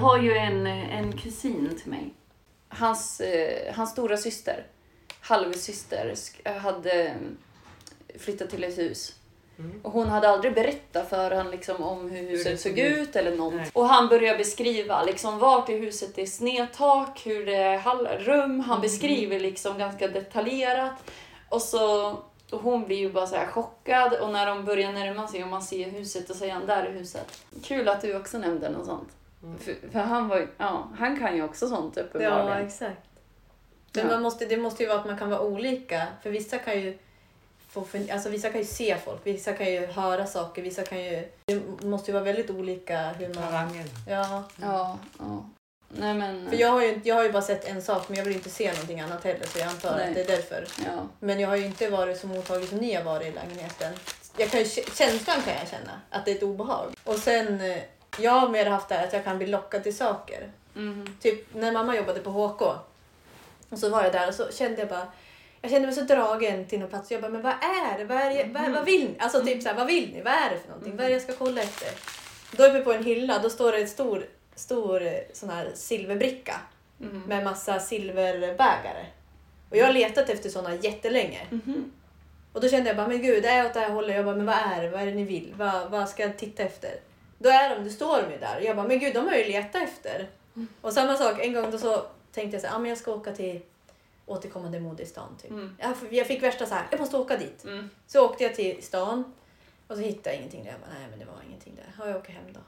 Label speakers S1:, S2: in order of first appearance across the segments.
S1: har ju en, en kusin till mig.
S2: Hans, eh, hans stora syster, halvsyster, sk- hade eh, flyttat till ett hus.
S3: Mm.
S2: Och hon hade aldrig berättat för han liksom om hur
S3: det
S2: huset såg
S3: såg ut.
S2: ut eller något.
S3: Nej.
S2: Och han börjar beskriva liksom vart i huset det är snedtak, hur det är hall- rum. Han beskriver liksom ganska detaljerat. Och så och hon blir ju bara så här chockad och när de börjar närma sig och man ser huset och säger han där är huset. Kul att du också nämnde något sånt.
S3: Mm.
S2: För, för han var ju- ja, han kan ju också sånt
S4: Ja,
S2: uppenbarligen.
S4: exakt. Men
S2: Ja.
S4: man måste, det måste ju vara att man kan vara olika. För vissa kan ju få, fun- alltså vissa kan ju se folk, vissa kan ju höra saker, vissa kan ju... Det måste ju vara väldigt olika hur man...
S3: Talangen.
S4: Ja.
S2: Ja, ja. Nej men...
S4: För jag har, ju, jag har ju bara sett en sak men jag vill inte se någonting annat heller så jag antar
S2: Nej.
S4: att det är därför.
S2: ja.
S4: Men jag har ju inte varit så mottaglig som ni har varit i lägenheten. Jag kan ju, kä- känslan kan jag känna, att det är ett obehag. Och sen, eh, jag har mer haft det här att jag kan bli lockad till saker.
S2: Mm.
S4: Typ när mamma jobbade på HK. Och så var jag där och så kände jag bara jag kände mig så dragen till någon plats. Jag bara, men vad är det? Vad, är det? Vad, vad vill ni? Alltså typ så här, vad vill ni? Vad är det för någonting? Vad är det jag ska kolla efter? Då uppe på en hylla, då står det en stor, stor eh, sån här silverbricka
S2: Mm.
S4: med massa silverbägare. Och jag har letat efter såna jättelänge.
S2: Mhm.
S4: Och då kände jag bara, men gud, det är åt det här hållet. Jag bara, men vad är det? Vad är det ni vill? Vad, vad ska jag titta efter? Då är de, då står de ju där. Jag bara, men gud, de har jag ju letat efter.
S2: Mm.
S4: Och samma sak, en gång då så tänkte jag så här, ah, men jag ska åka till återkommande mode i stan. Typ.
S2: Mm.
S4: Jag, jag fick värsta så här, jag måste åka dit.
S2: Mm.
S4: Så åkte jag till stan och så hittade jag ingenting där. Jag bara, nej men det var ingenting där. Ja, jag åker hem då.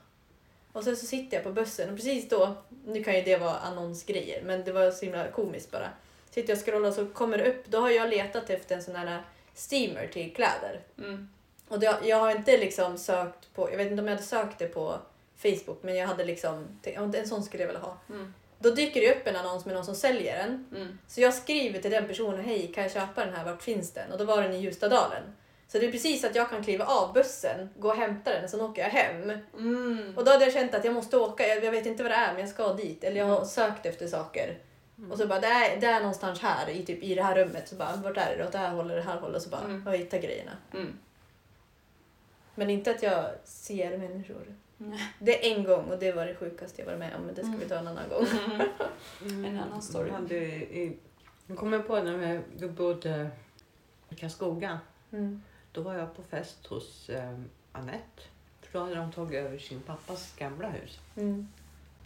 S4: Och sen så sitter jag på bussen och precis då, nu kan ju det vara annonsgrejer, men det var så himla komiskt bara. Sitter jag och scrollar och så kommer det upp, då har jag letat efter en sån här steamer till kläder.
S2: Mm.
S4: Och det, jag har inte liksom sökt på, jag vet inte om jag hade sökt det på Facebook, men jag hade liksom, tänkt, "Ja, en sån skulle jag vilja ha.
S2: Mm.
S4: Då dyker det upp en annons med någon som säljer den.
S2: Mm.
S4: Så jag skriver till den personen, hej kan jag köpa den här, vart finns den? Och då var den i Ljustadalen. Så det är precis att jag kan kliva av bussen, gå och hämta den, sen åker jag hem.
S2: Mm.
S4: Och då hade jag känt att jag måste åka, jag, jag vet inte vad det är men jag ska dit. Eller jag
S2: Mm.
S4: har sökt efter saker.
S3: Mm.
S4: Och så bara, det är, det är någonstans här, i, typ, i det här rummet. Så bara, vart är det? Åt det här hållet, det här hållet. Så bara,
S2: Mm.
S4: jag hittar grejerna.
S2: Mm.
S4: Men inte att jag ser människor.
S2: Nej. Mm.
S4: Det är en gång och det var det sjukaste jag varit med om, men det ska vi ta en annan gång.
S2: Mm-hmm. En annan story.
S3: Jag Mm. hade i- Jag kommer på när vi bodde i Karlskoga.
S4: Mm.
S3: Då var jag på fest hos eh, Anette. För då hade de tagit över sin pappas gamla hus.
S4: Mm.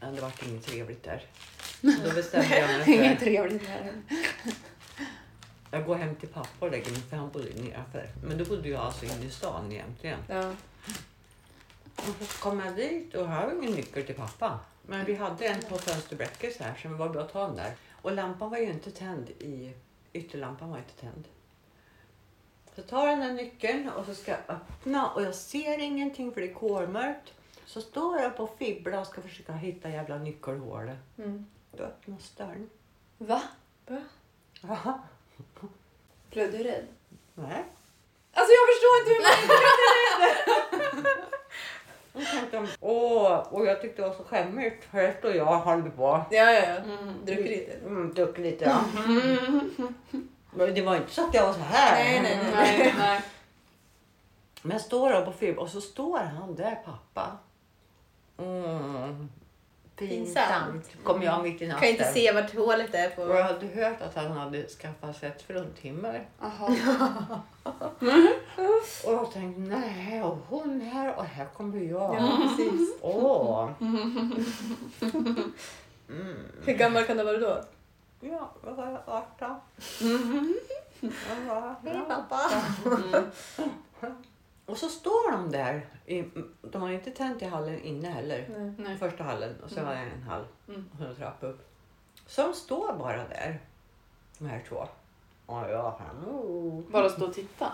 S3: Men det vart inget trevligt där. Då bestämde jag mig
S2: Inget
S3: för
S2: trevligt här.
S3: jag går hem till pappa och lägger mig för han bodde nedanför. Men då bodde jag alltså inne i stan egentligen.
S4: Ja.
S3: Och så kom jag dit och jag hade ingen nyckel till pappa. Men vi hade en på fönsterbräcket så här så det var bra att ta den där. Och lampan var ju inte tänd i... Ytterlampan var inte tänd. Så tar jag den där nyckeln och så ska jag öppna och jag ser ingenting för det är kolmörkt. Så står jag på fibbla och ska försöka hitta jävla nyckelhålet.
S4: Mm.
S3: Då öppnas dörren.
S2: Va?
S3: Jaha,
S2: Blev du rädd?
S3: nej.
S2: Alltså jag förstår inte hur man...
S3: Och tänkte, de, åh, och jag tyckte det var så skämmigt. Här står jag och håller på.
S4: Ja, ja, ja.
S2: Mm.
S4: Druckit lite.
S3: Mm, duck lite ja. Men det var inte så att jag var så här.
S4: Nej, nej, nej.
S2: Nej, nej.
S3: Men jag står där på film och så står han där pappa. Mm.
S4: Pinsamt.
S3: Kom jag mitt i natten.
S4: Kan inte se vart hålet är på...
S3: Och jag hade hört att han hade skaffat sig ett fruntimmer.
S2: Jaha.
S3: Och jag tänkte, nej, och hon här och här kommer jag.
S4: Ja, precis. Mm.
S3: Åh.
S4: Hur gammal kan du vara då?
S3: Ja, vad var jag? 18?
S4: Mm.
S3: Jag var-
S4: Hej
S3: ja.
S4: pappa!
S3: Och så står de där. I, de har inte tänt i hallen inne heller.
S4: Nej.
S2: Nej.
S3: Första hallen och sen var det en hall
S2: Mm.
S3: och en trappa upp. Så de står bara där, de här två. Ja, ja, han. oh.
S2: Bara stå och titta.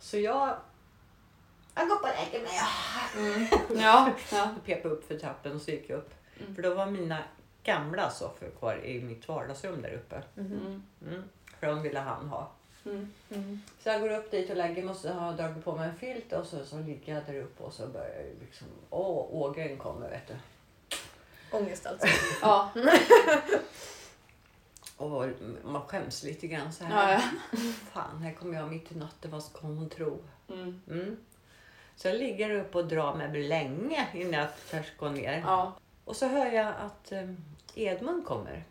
S3: Så jag... Jag går på och lägger mig.
S4: Mm.
S2: Ja. ja.
S3: Jag pepade upp för trappen och så gick jag upp. För då var mina gamla soffor kvar i mitt vardagsrum där uppe.
S2: Mm.
S3: Mm. För de ville han ha.
S2: Mm.
S4: Mm.
S3: Så jag går upp dit och lägger mig och så har jag dragit på mig en filt och så, så ligger jag där uppe och så börjar jag ju liksom... Åh, ågren kommer vet du.
S4: Ångest alltså.
S2: Ja.
S3: Och man skäms lite grann så här.
S2: ja, ja.
S3: Fan, här kommer jag mitt i natten. Vad ska hon tro?
S2: Mm.
S3: Mm. Så jag ligger uppe och drar mig länge innan jag törs gå ner.
S2: ja.
S3: Och så hör jag att eh, Edmund kommer.
S4: Är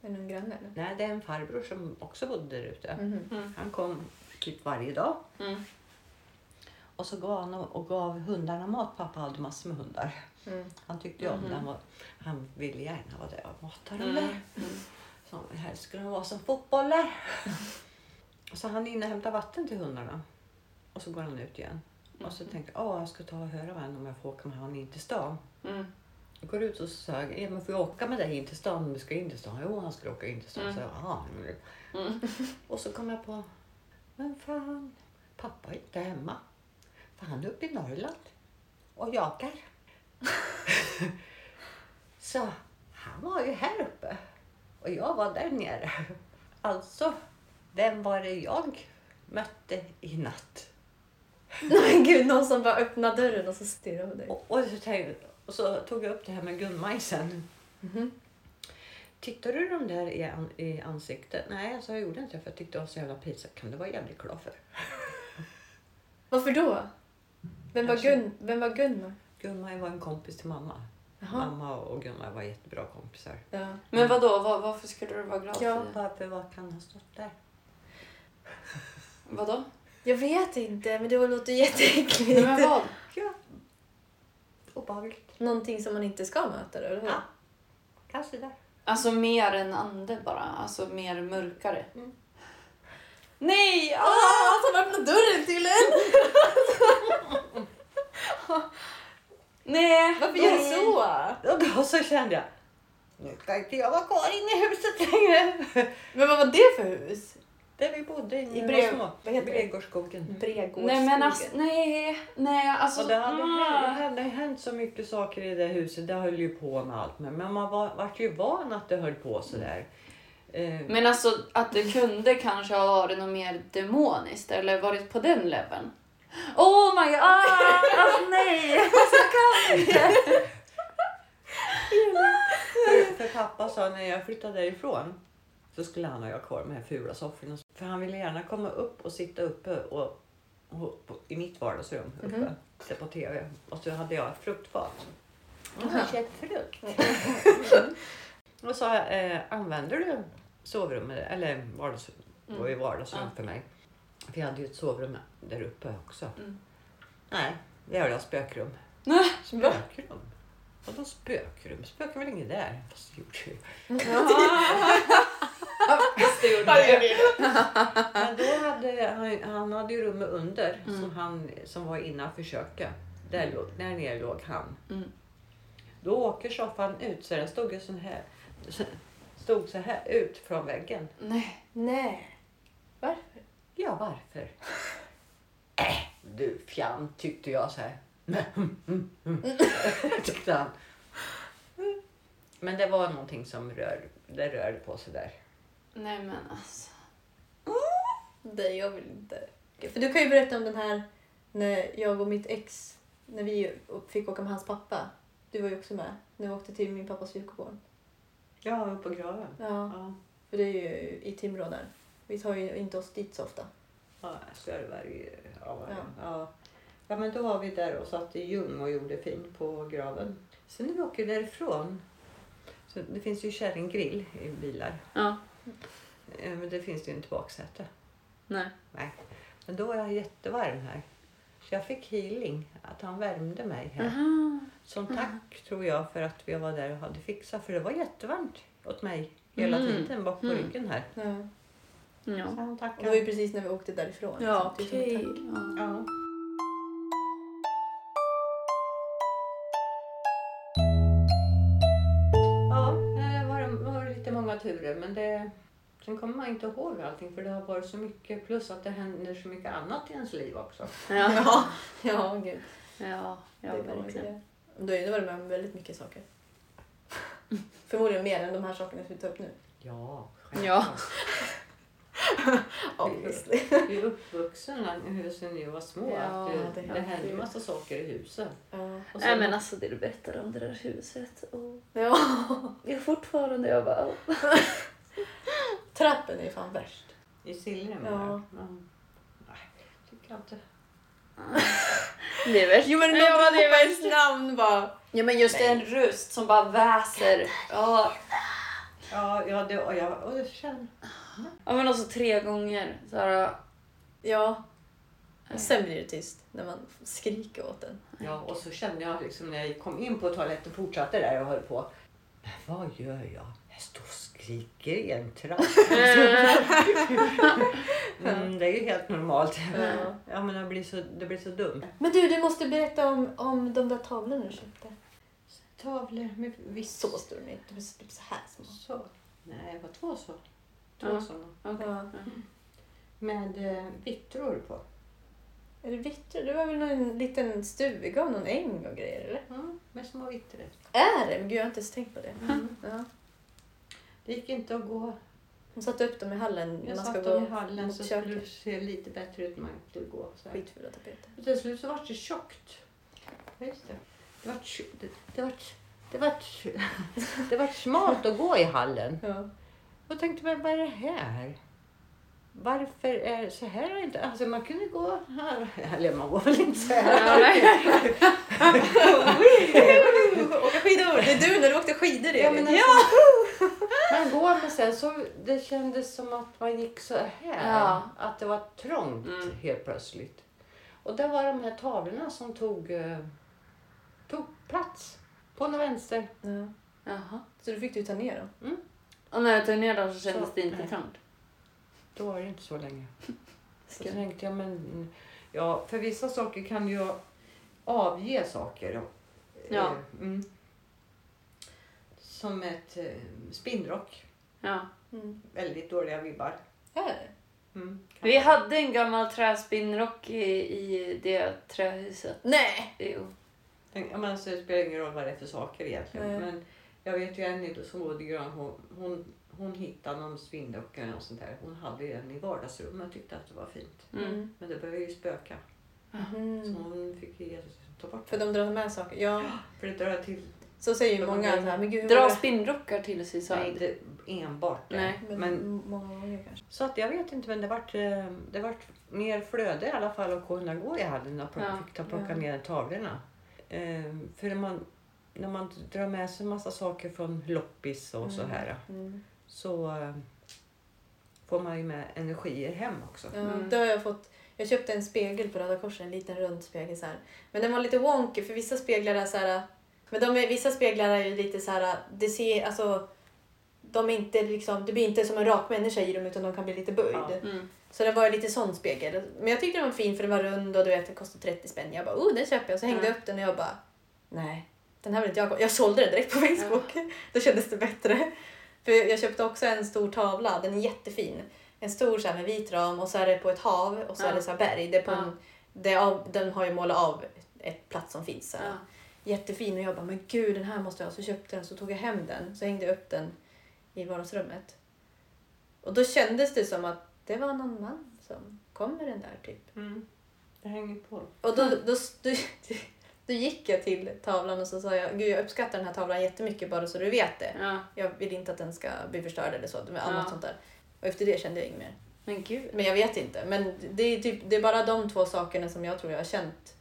S4: det någon granne eller?
S3: Nej, det är en farbror som också bodde där ute.
S4: Mhm.
S2: Mm-hmm.
S3: Han kom typ varje dag.
S2: Mm.
S3: Och så gav han och gav hundarna mat. Pappa hade massor med hundar.
S4: Mm.
S3: Han tyckte ju om det. Han, var, han ville gärna vara där och mata dem
S2: Mm-hmm. Mm.
S3: där. Så helst skulle de vara som fotbollar. Och så han är inne och hämtar vatten till hundarna. Och så går han ut igen. Och så tänkte jag, åh jag ska ta och höra med honom om jag får åka med honom in till stan.
S2: Mm.
S3: Jag går ut och så sa jag, "Ja, men får jag åka med dig in till stan om du ska in till stan? Jo, han skulle åka in till stan. Så jag, "Ah, mm. Och så kom jag på, men fan, pappa är inte hemma. För han är uppe i Norrland och jagar. så han var ju här uppe och jag var där nere. Alltså, vem var det jag mötte i natt?
S4: Nej gud, någon som bara öppnar dörren och så stirrar på dig.
S3: Och, och, så tänkte, och så tog jag upp det här med guldmajsen.
S4: Mhm.
S3: Tittar du dem där i, an, i ansiktet? Nej, alltså, jag gjorde inte det för jag tyckte det var så jävla pinsamt. Kan du vara jävligt glad för?
S4: Varför då? Vem var,
S3: Kanske-
S4: Gun Vem var Gunnar?
S3: Gunmaj var en kompis till mamma.
S4: Jaha.
S3: Mamma och Gunmaj var jättebra kompisar.
S4: Ja.
S2: Men vadå, var, varför skulle du vara glad
S4: Ja.
S2: för det?
S3: Varför vad kan ha stått där?
S2: Vadå?
S4: Jag vet inte, men det låter
S2: Nej,
S4: jätteäckligt.
S2: men vad?
S3: Ja. Obehagligt.
S4: Någonting som man inte ska möta då, eller hur?
S3: Ja. Kanske där.
S2: Alltså mer än ande bara, alltså mer mörkare.
S3: Mm.
S2: Nej! Ah!
S4: Ah, som öppnar dörren till en!
S2: Nej!
S4: Varför gör du så?
S3: Och då så kände jag, nu ska inte jag vara kvar inne i huset längre.
S4: Men vad var det för hus?
S3: Där vi bodde inne
S4: I
S3: när
S4: brev-
S3: vi var
S4: vad
S3: små.
S4: heter det?
S3: Bredgårdsskogen.
S4: Bregårdsskogen.
S2: Nej men alltså, nej, nej alltså.
S3: Och det hade,
S2: ah.
S3: hänt, det hade hänt så mycket saker i det huset. Det höll ju på med allt. Men men man var, vart ju van att det höll på sådär. Eh,
S2: Men alltså att det kunde kanske ha varit något mer demoniskt eller varit på den leveln. Oh my god! Ah, alltså nej!
S3: för, för pappa sa när jag flyttade därifrån så skulle han ha jag kvar med de här fula sofforna. För han ville gärna komma upp och sitta uppe och, och, på, i mitt vardagsrum uppe. Titta på TV. Och så hade jag ett fruktfat. Jag har köpt frukt.
S2: Mm.
S3: Och så sa jag, eh, använder du sovrummet, eller vardagsrummet? Det var ju vardagsrum
S2: Mm. Ja.
S3: för mig. För jag hade ju ett sovrum där uppe också.
S2: Mm.
S3: Nej, det har jag spökrum.
S2: Nej.
S3: Spökrum? Vadå spökrum? Spökar väl inget där? Fast det gjorde det ju. Men då hade han, han hade ju rummet under som, han, som var innanför köket. Där, låg, där nere låg han.
S2: Mm.
S3: Då åker soffan ut så den stod ju sån här. Stod så här ut från väggen.
S2: Nej.
S4: Nej. Varför?
S3: Ja, varför? Äh, du fjant tyckte jag så här. mm, tyckte han. Men det var någonting som rör, det rörde på sig där.
S2: nej men alltså.
S4: Nej, jag vill inte. För du kan ju berätta om den här när jag och mitt ex, när vi fick åka med hans pappa. Du var ju också med. När vi åkte till min pappas kyrkogård.
S3: Ja, uppe på graven.
S4: Ja.
S3: Ja,
S4: För det är ju i Timrå där. Vi tar ju inte oss dit så ofta.
S3: ja skarvar i... Ja, vad är det?
S4: Ja.
S3: ja. ja, men då var vi där och satt i ljung och gjorde fint på graven. Sen när vi åker därifrån, så det finns ju kärringgrill i bilar.
S2: Ja,
S3: Eh, Men det finns det ju inte baksäte.
S2: nej.
S3: Nej. Men då var jag jättevarm här. Så jag fick healing, att han värmde mig här.
S2: Aha.
S3: Som tack tror jag för att vi var där och hade fixat. För det var jättevarmt åt mig hela
S2: Mm.
S3: tiden bak på
S2: Mm.
S3: ryggen här.
S4: Ja.
S2: Ja.
S3: Så han
S4: Och det var ju
S3: tackade.
S4: precis när vi åkte därifrån.
S2: Ja,
S4: liksom. Tusen
S2: okej.
S4: tack.
S2: Ja.
S3: Ja. Ja, det var, det var lite många turer men det, sen kommer man inte ihåg allting för det har varit så mycket plus att det händer så mycket annat i ens liv också.
S2: Ja,
S4: Ja, ja gud.
S2: ja, ja
S4: det kan man
S2: verkligen.
S4: säga. Du har ju varit med om väldigt mycket saker. Förmodligen mer än de här sakerna som vi tar upp nu.
S3: Ja,
S2: Ja.
S4: Obviously.
S3: Vi är uppvuxna i husen när vi var små.
S2: Ja,
S3: att det,
S4: det
S3: det,
S4: är
S3: händer ju
S4: alltid.
S3: massa saker i husen.
S4: Ja.
S3: Och
S2: Nej
S3: sen-
S2: men alltså det du berättar om det där huset. Och
S4: Ja.
S2: jag är fortfarande, jag bara... oh.
S4: Trappen är ju fan värst.
S3: I Silje menar
S4: Ja.
S3: jag. Ja. Nej, tycker jag inte.
S2: Det är värst.
S4: Jo men någon
S2: Ja,
S4: ja,
S2: det är
S4: ropar ens namn bara. Ja men just
S2: Det är en
S4: det.
S2: röst som bara väser. Ja.
S3: Ja, ja det, och jag och det känner.
S2: ja, men också tre gånger. Så här,
S4: Ja. Och sen blir det tyst när man skriker åt den.
S3: Ja, och så kände jag liksom när jag kom in på toaletten fortsatte där jag höll på. Men vad gör jag? Jag står och skriker i en trappa. mm, det är ju helt normalt.
S4: Ja.
S3: Ja, men det blir så, det blir så dumt.
S4: Men du, du måste berätta om, om de där tavlorna du köpte.
S3: Tavlor med viss...
S4: Så stora, de är inte- de är typ så här små.
S3: Så. Nej, det var två så. Två
S1: Ja.
S3: sådana.
S4: Ja.
S3: Med eh, vittror på.
S4: Är det vittror? Det var väl någon liten stuga och någon äng och grejer eller?
S3: Mm, med små vittror.
S4: Är det? Men gud, jag har inte ens tänkt på det.
S3: Mm.
S4: Ja.
S3: Det gick inte att gå.
S4: Hon satte upp dem i hallen.
S3: Jag
S4: man ska
S3: satt
S4: gå
S3: dem i hallen
S4: mot
S3: så skulle det
S4: köket.
S3: se lite bättre ut när man skulle gå. Så här.
S4: Skitfula tapeter.
S3: Men Till slut så vart det tjockt. Ja, just det. Det vart, tj- det, det vart, det vart, det vart smalt att gå i hallen.
S4: Ja.
S3: Och tänkte men vad är det här? Varför är det så här och inte? Alltså man kunde gå här. Eller man går väl inte så här.
S1: Ja, nej.
S4: Åka skidor! Det är du när du åkte skidor Elin.
S3: Ja, men alltså, Man går men sen så det kändes som att man gick så här.
S2: Ja.
S3: Att det var trångt
S1: Mm.
S3: helt plötsligt. Och det var de här tavlorna som tog, eh, tog plats på någon vänster.
S4: Ja.
S1: Jaha.
S4: Så du fick du ta ner dem?
S1: Och när jag tog ner dem så kändes
S3: Så,
S1: det inte
S3: nej.
S1: trångt.
S3: Då var det inte så länge. Så tänkte jag, men ja, för vissa saker kan ju avge saker. och-
S1: Ja.
S3: eh, Mm. Som ett eh, spinnrock.
S1: Ja.
S4: Mm.
S3: Väldigt dåliga vibbar.
S4: Här?
S3: Mm.
S2: Vi hade en gammal träspinnrock i, i det trähuset.
S4: Nej!
S2: Jo.
S3: Tänk, ja, men alltså, det spelar ingen roll vad det är för saker egentligen.
S4: Nej.
S3: Men jag vet ju Annie då som bodde i Gran, hon, hon, hon hittade någon spinndocka eller något sånt där. Hon hade ju den i vardagsrummet och tyckte att det var fint.
S1: Mm.
S3: Men det började ju spöka.
S4: Mhm.
S3: Så hon fick ju ta bort
S4: För de drar med saker. Ja,
S3: För det drar till
S4: så säger ju
S3: De
S4: många. Så
S3: drar-
S4: här, men gud, hur
S2: Dra
S4: var det?"
S2: spinnrockar till sig så.
S3: Nej, inte enbart det.
S1: Nej,
S4: men,
S3: Men,
S4: m- många gånger kanske.
S3: så att jag vet inte, men det vart, eh, det vart mer flöde i alla fall att kunna gå i hallen och plocka,
S1: Ja.
S3: fick ta plocka
S4: Ja.
S3: ner tavlorna. Eh, för när man, när man drar med sig en massa saker från loppis och så här
S4: Mm.
S3: så eh, får man ju med energier hem också.
S4: Ja,
S1: Mm.
S4: Det har jag fått. Jag köpte en spegel på Röda Korset, en liten rund spegel så här. Men den var lite wonky för vissa speglar är så här. Men de är, vissa speglar är ju lite så här. Det ser, alltså, de är inte liksom, du blir inte som en rak människa i dem utan de kan bli lite böjd.
S3: Ja.
S1: Mm.
S4: Så det var ju lite sån spegel. Men jag tyckte den var fin för den var rund och du vet, den kostade 30 spänn. Jag bara, oh den köper jag. Så hängde jag
S1: Ja.
S4: upp den och jag bara, nej, den här vill inte jag ha. Jag sålde den direkt på Facebook. Då kändes det bättre. För jag köpte också en stor tavla, den är jättefin. En stor så här med vit ram och så är det på ett hav och så är
S1: Ja.
S4: det så här berg. Det är på
S1: Ja.
S4: en, det är av, den har ju målat av ett plats som finns. Så här
S1: Ja.
S4: jättefin och jag bara, men gud den här måste jag ha. Så köpte jag den så tog jag hem den. Så hängde jag upp den i vardagsrummet. Och då kändes det som att det var någon man som kom med den där typ.
S3: Mm. Det hänger på.
S4: Och då, då, då, då gick jag till tavlan och så sa jag, gud jag uppskattar den här tavlan jättemycket bara så du vet det.
S1: Ja.
S4: Jag vill inte att den ska bli förstörd eller så. Med annat
S1: Ja.
S4: sånt där. Och efter det kände jag inget mer.
S1: Men gud.
S4: Men jag vet inte. Men det är, typ, det är bara de två sakerna som jag tror jag har känt.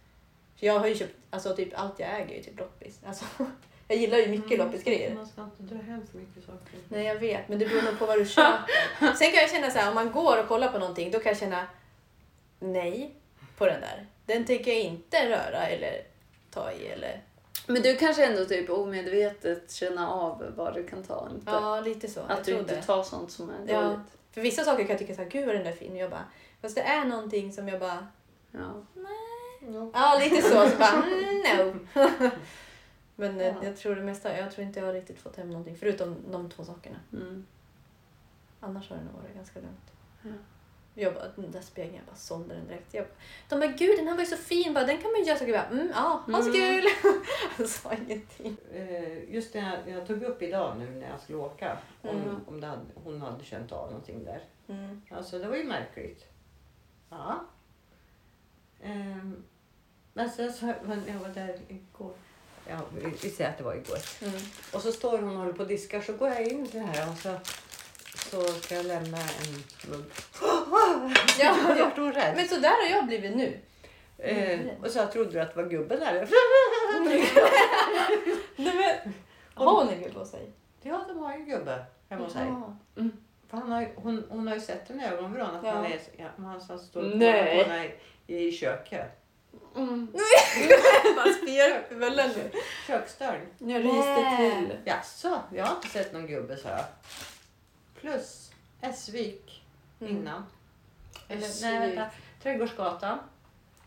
S4: För jag har ju köpt, alltså typ allt jag äger är ju typ loppis. Alltså, jag gillar ju mycket
S2: Mm.
S4: loppisgrejer.
S3: Mm. Man ska inte dra hem för mycket saker.
S4: Nej jag vet, men det beror nog på vad du köper. Sen kan jag känna så här, om man går och kollar på någonting, då kan jag känna nej på den där. Den tänker jag inte röra eller ta i eller...
S2: Men du kanske ändå typ omedvetet känner av vad du kan ta och inte.
S4: Ja, lite så. jag
S2: Att du
S4: tror
S2: inte
S4: det.
S2: tar sånt som är dåligt.
S4: Ja.
S2: Ja.
S4: För vissa saker kan jag tycka så här, gud vad den där är fin. Och jag bara, fast det är någonting som jag bara,
S3: Ja.
S4: ja lite så. Så bara, mm, no. Men eh,
S3: Ja.
S4: jag tror det mesta, jag tror inte jag har riktigt fått hem någonting förutom de två sakerna.
S2: Mm.
S4: Annars har det nog varit ganska lugnt.
S2: Ja.
S4: Jag bara, den där spegeln, jag bara sålde den direkt. Jag bara, de bara, gud den här var ju så fin, bara, den kan man ju göra saker med. Mm, ja, ha så
S2: Mm.
S4: kul! Jag sa ingenting.
S3: Eh, Just det jag, jag tog upp idag nu när jag skulle åka. Om,
S4: Mm.
S3: om det hade, hon hade känt av någonting där.
S4: Mm.
S3: Alltså det var ju märkligt. Ja. Ehm, men sen så, men jag var där igår. Ja, vi, vi säger att det var igår.
S4: Mm.
S3: Och så står hon och håller på och diskar så går jag in till här och så, så ska jag lämna en mugg.
S4: Ja,
S3: Då
S4: ja.
S3: vart hon rädd.
S4: Men så där har jag blivit nu.
S2: Mm.
S3: Ehm, och så jag trodde att det var gubben där.
S4: Nej, men, har hon en gubbe hos sig?
S3: Ja, de har ju en gubbe hemma hos sig.
S4: Jaha.
S3: För Han har, ju- hon, hon har ju sett den i ögonvrån att
S2: Ja.
S3: han, är, ja, han som står och
S2: Nej.
S3: kollar på henne i, i köket.
S2: Mm.
S4: Bara spyr upp i bullen nu.
S3: Köksdörren.
S2: Jag ryste
S4: Nej.
S2: till.
S3: Jaså, jag har inte sett någon gubbe sa jag. Plus Essvik
S4: Mm.
S3: innan. Eller, nej
S2: Essvik.
S3: vänta, Trädgårdsgatan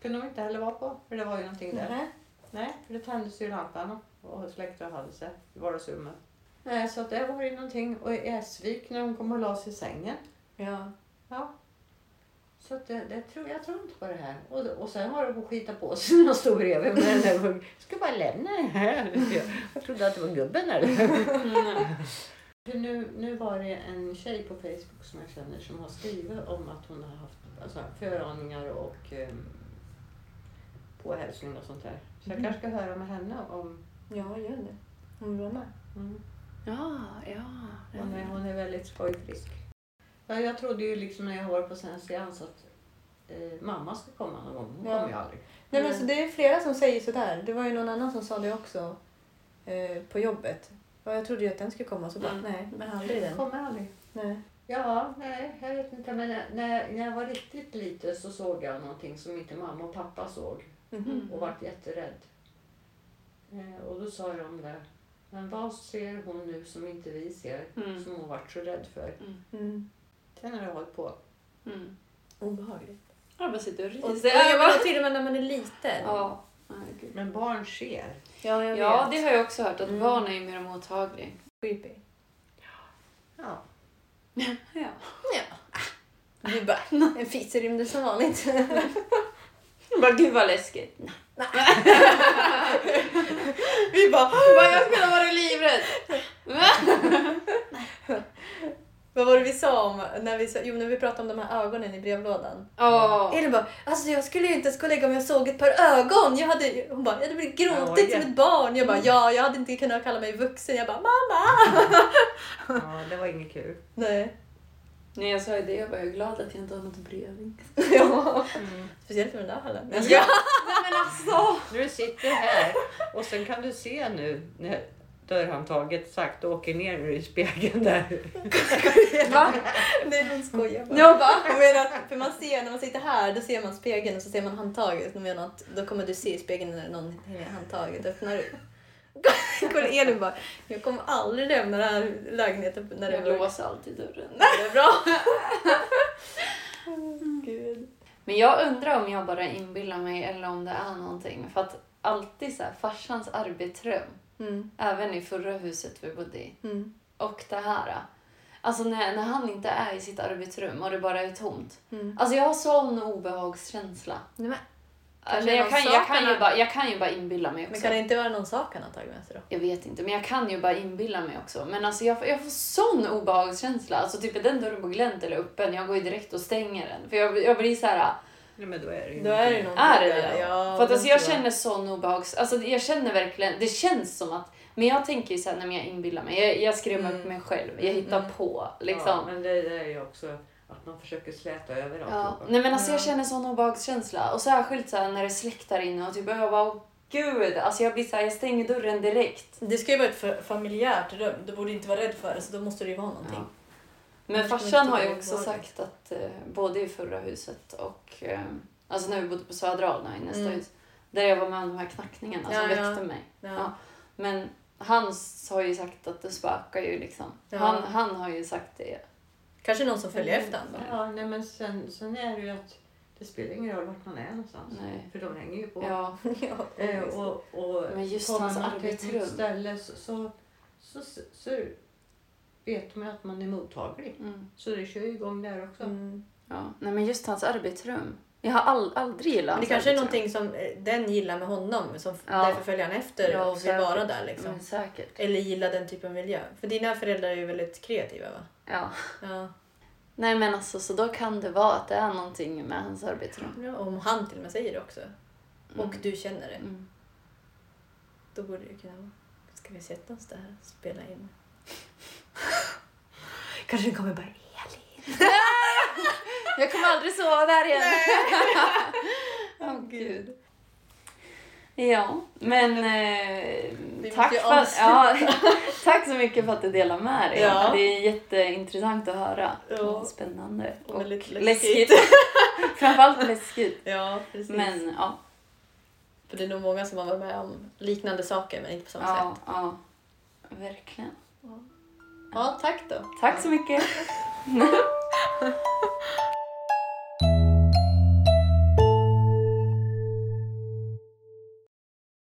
S3: kunde de inte heller vara på för det var ju någonting där.
S4: Mm. Nej.
S3: Nej, för det tändes ju lampan och släckte och hade sig i vardagsrummet. Nej, så att det var ju någonting och i Essvik när hon kom och la sig i sängen.
S4: Ja.
S3: Ja. Så att det, det tror, jag tror inte på det här. Och, och sen har de skitat på sig när de stod bredvid med den där hugg. Jag ska bara lämna det här. Jag trodde att det var gubben eller?
S2: Mm.
S3: Nu, nu var det en tjej på Facebook som jag känner som har skrivit om att hon har haft alltså, föraningar och eh, påhälsning och sånt där. Så jag
S4: Mhm.
S3: kanske ska höra med henne om...
S4: Ja, gör det. Hon vill vara med.
S3: Mm.
S1: Ja, ja.
S3: Hon, är, hon är väldigt skojfrisk. Ja, jag trodde ju liksom när jag var på sen seans att eh, mamma skulle komma någon gång. Hon
S4: Ja.
S3: kommer ju aldrig.
S2: Nej.
S4: Nej, men så det är flera som säger sådär. Det var ju någon annan som sa det också eh, på jobbet. Ja, jag trodde ju att den skulle komma så bara,
S2: Mm.
S4: nej, men aldrig den.
S3: Kommer aldrig.
S4: Nej.
S3: Ja, nej, jag vet inte. Men när, när när jag var riktigt liten så såg jag någonting som inte mamma och pappa såg.
S4: Mhm.
S3: och vart jätterädd. Eh, och då sa de det. Men vad ser hon nu som inte vi ser?
S2: Mm.
S3: Som hon vart så rädd för.
S4: Mm.
S3: Sen har det hållit på.
S2: Mm.
S4: Obehagligt.
S2: Jag bara sitter och
S4: Och, och
S2: ryser.
S4: jag menar till och med när man är liten.
S2: Ja. Nej, gud.
S3: Men barn ser.
S4: Ja, jag
S2: Ja, det
S4: vet.
S2: har jag också hört att
S4: Mm.
S2: barn är mer mottagliga.
S4: Creepy.
S3: Ja.
S2: Ja.
S4: Du bara, en fis i rymden som vanligt.
S2: Bara, gud vad läskigt.
S4: Vi bara,
S2: Bara, jag skulle ha varit livrädd.
S4: vad var det vi sa om, när vi, sa- jo, när vi pratade om de här ögonen i brevlådan.
S2: Ja.
S4: Elin bara, alltså jag skulle ju inte ens gå och lägga mig om jag såg ett par ögon. Jag hade, hon Mm. bara, jag hade blivit gråtit
S3: Ja,
S4: som ett barn. Jag bara, ja, jag hade inte kunnat kalla mig vuxen. Jag bara, mamma!
S3: ja, det var inget kul.
S4: Nej.
S2: Nej, jag sa ju det. Jag bara, jag är glad att jag inte har något brev.
S4: Ja.
S3: Mm.
S4: Speciellt med den där hallen.
S3: Men-
S4: Ja.
S2: Men alltså!
S3: Nu sitter jag här och sen kan du se nu när dörrhandtaget sakta åker ner ur spegeln där.
S2: Va?
S4: Nej, hon skojar bara.
S2: Jag bara,
S4: Jag menar, för man ser, när man sitter här, då ser man spegeln och så ser man handtaget. Jag menar att då kommer du se i spegeln när någon hänger i handtaget. Öppnar du. Kolla Elin bara, jag kommer aldrig lämna den här lägenheten när det är
S2: jag
S4: mörkt.
S2: låser alltid dörren.
S4: Det är bra.
S2: Gud. Men jag undrar om jag bara inbillar mig eller om det är någonting. För att alltid så här, farsans arbetsrum,
S4: Mm,
S2: även i förra huset vi bodde i,
S4: mm,
S2: och det här. Alltså när, när han inte är i sitt arbetsrum och det bara är tomt.
S4: mm.
S2: Alltså jag har sån obehagskänsla.
S4: Nej, men-
S2: Alltså
S4: Kanske
S2: jag, kan,
S4: någon
S2: jag, kan
S4: saknar-
S2: ju bara, jag kan ju bara inbilla mig
S4: Men
S2: också.
S4: kan det inte vara någon sak han har tagit med sig då?
S2: Jag vet inte, men jag kan ju bara inbilla mig också. Men alltså jag, får- jag får sån obehagskänsla. Alltså typ är den dörren på glänt eller öppen, jag går ju direkt och stänger den. För jag, jag blir så här.
S3: Nej, men då är det ju
S4: Då är det
S3: ingenting.
S4: någon
S2: Är det
S4: där.
S2: det?
S4: Ja,
S2: För att alltså,
S4: det
S2: jag
S4: tror
S2: känner sån obehags... Alltså, jag känner verkligen, det känns som att... Men jag tänker ju såhär, nej men jag inbillar mig. Jag, jag skrämmer
S4: Mm.
S2: upp mig själv. Jag hittar
S4: Mm.
S2: på
S3: Ja,
S2: liksom.
S3: men det, det är ju också att man försöker släta över
S2: Ja,
S3: alltihopa.
S2: Nej men alltså jag
S4: Ja.
S2: känner sån obehagskänsla. Och särskilt såhär när det släktar inne och typ jag bara, åh, gud. Alltså jag blir såhär, jag stänger dörren direkt.
S4: Det ska ju vara ett fa- familjärt rum. Du borde inte vara rädd för det, så då måste det ju vara någonting.
S2: Ja. Men
S4: Annars kommer
S2: farsan
S4: inte
S2: har ju
S4: det
S2: också
S4: vara det.
S2: sagt att eh, både i förra huset och eh, alltså när vi bodde på Södra Alnö i nästa
S4: Mm.
S2: hus. Där jag var med om de här knackningarna
S4: Ja,
S2: som
S4: ja.
S2: väckte mig.
S4: Ja.
S2: Men han s- har ju sagt att det spökar ju liksom.
S4: Ja.
S2: Han, han har ju sagt det.
S4: Kanske någon som följer efter honom.
S3: Ja, nej, men sen, sen är det ju att det spelar ingen roll vart man är någonstans.
S2: Nej.
S3: För de hänger ju på.
S2: Ja,
S4: Ja, Mm.
S3: Eh, och, och
S2: men just
S3: kommer
S2: hans
S3: man till ett nytt
S2: arbetsrum.
S3: ställe så, så, så, så, vet man ju att man är mottaglig.
S2: Mm.
S3: Så det kör ju igång där också.
S4: Mm.
S2: Ja. Nej, men just hans arbetsrum. Jag har all, aldrig gillat
S4: Men det
S2: hans
S4: kanske är
S2: arbetsrum.
S4: någonting som eh, den gillar med honom, som f-
S2: Ja.
S4: därför följer han efter
S2: Ja,
S4: och vill
S2: säkert.
S4: vara där. Liksom.
S2: Men säkert.
S4: Eller gillar den typen av miljö. För dina föräldrar är ju väldigt kreativa va?
S2: Ja.
S4: Ja.
S2: Nej men alltså, så då kan det vara att det är någonting med hans arbetsrum.
S4: Ja, Om han till och med säger det också.
S2: Mm.
S4: Och du känner det.
S2: Mm.
S4: Då borde det kunna vara. Ska vi sätta oss där och spela in? kanske det kommer bara
S2: Jag kommer aldrig sova där igen. Åh gud. Ja, men eh,
S4: Vi
S2: tack,
S4: måste ju
S2: för, att-
S4: avsluta.
S2: ja, tack så mycket för att du delar med dig.
S4: Ja.
S2: Det är jätteintressant att höra.
S4: Ja.
S2: Spännande
S4: Och
S2: och,
S4: väldigt
S2: läskigt.
S4: läskigt.
S2: Framförallt läskigt.
S4: Ja, precis.
S2: Men ja,
S4: För det är nog många som har varit med om liknande saker men inte på samma
S2: ja,
S4: sätt.
S2: ja, verkligen.
S4: Ja, tack då.
S2: Tack så mycket.